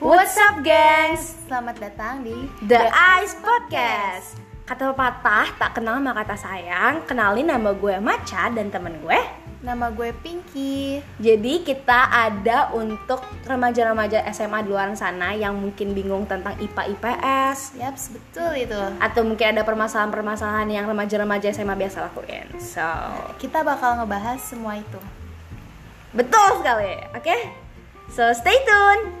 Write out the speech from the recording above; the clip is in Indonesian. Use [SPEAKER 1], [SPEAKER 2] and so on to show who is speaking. [SPEAKER 1] What's up, gengs?
[SPEAKER 2] Selamat datang di
[SPEAKER 1] The Ice Podcast. Kata pepatah, tak kenal maka kata sayang. Kenalin nama gue Maca dan temen gue.
[SPEAKER 2] Nama gue Pinky
[SPEAKER 1] Jadi kita ada untuk remaja-remaja SMA di luar sana yang mungkin bingung tentang IPA IPS
[SPEAKER 2] Yaps, betul itu
[SPEAKER 1] atau mungkin ada permasalahan-permasalahan yang remaja-remaja SMA biasa lakuin. So,
[SPEAKER 2] Kita bakal ngebahas semua itu
[SPEAKER 1] betul sekali. Oke? So, stay tune.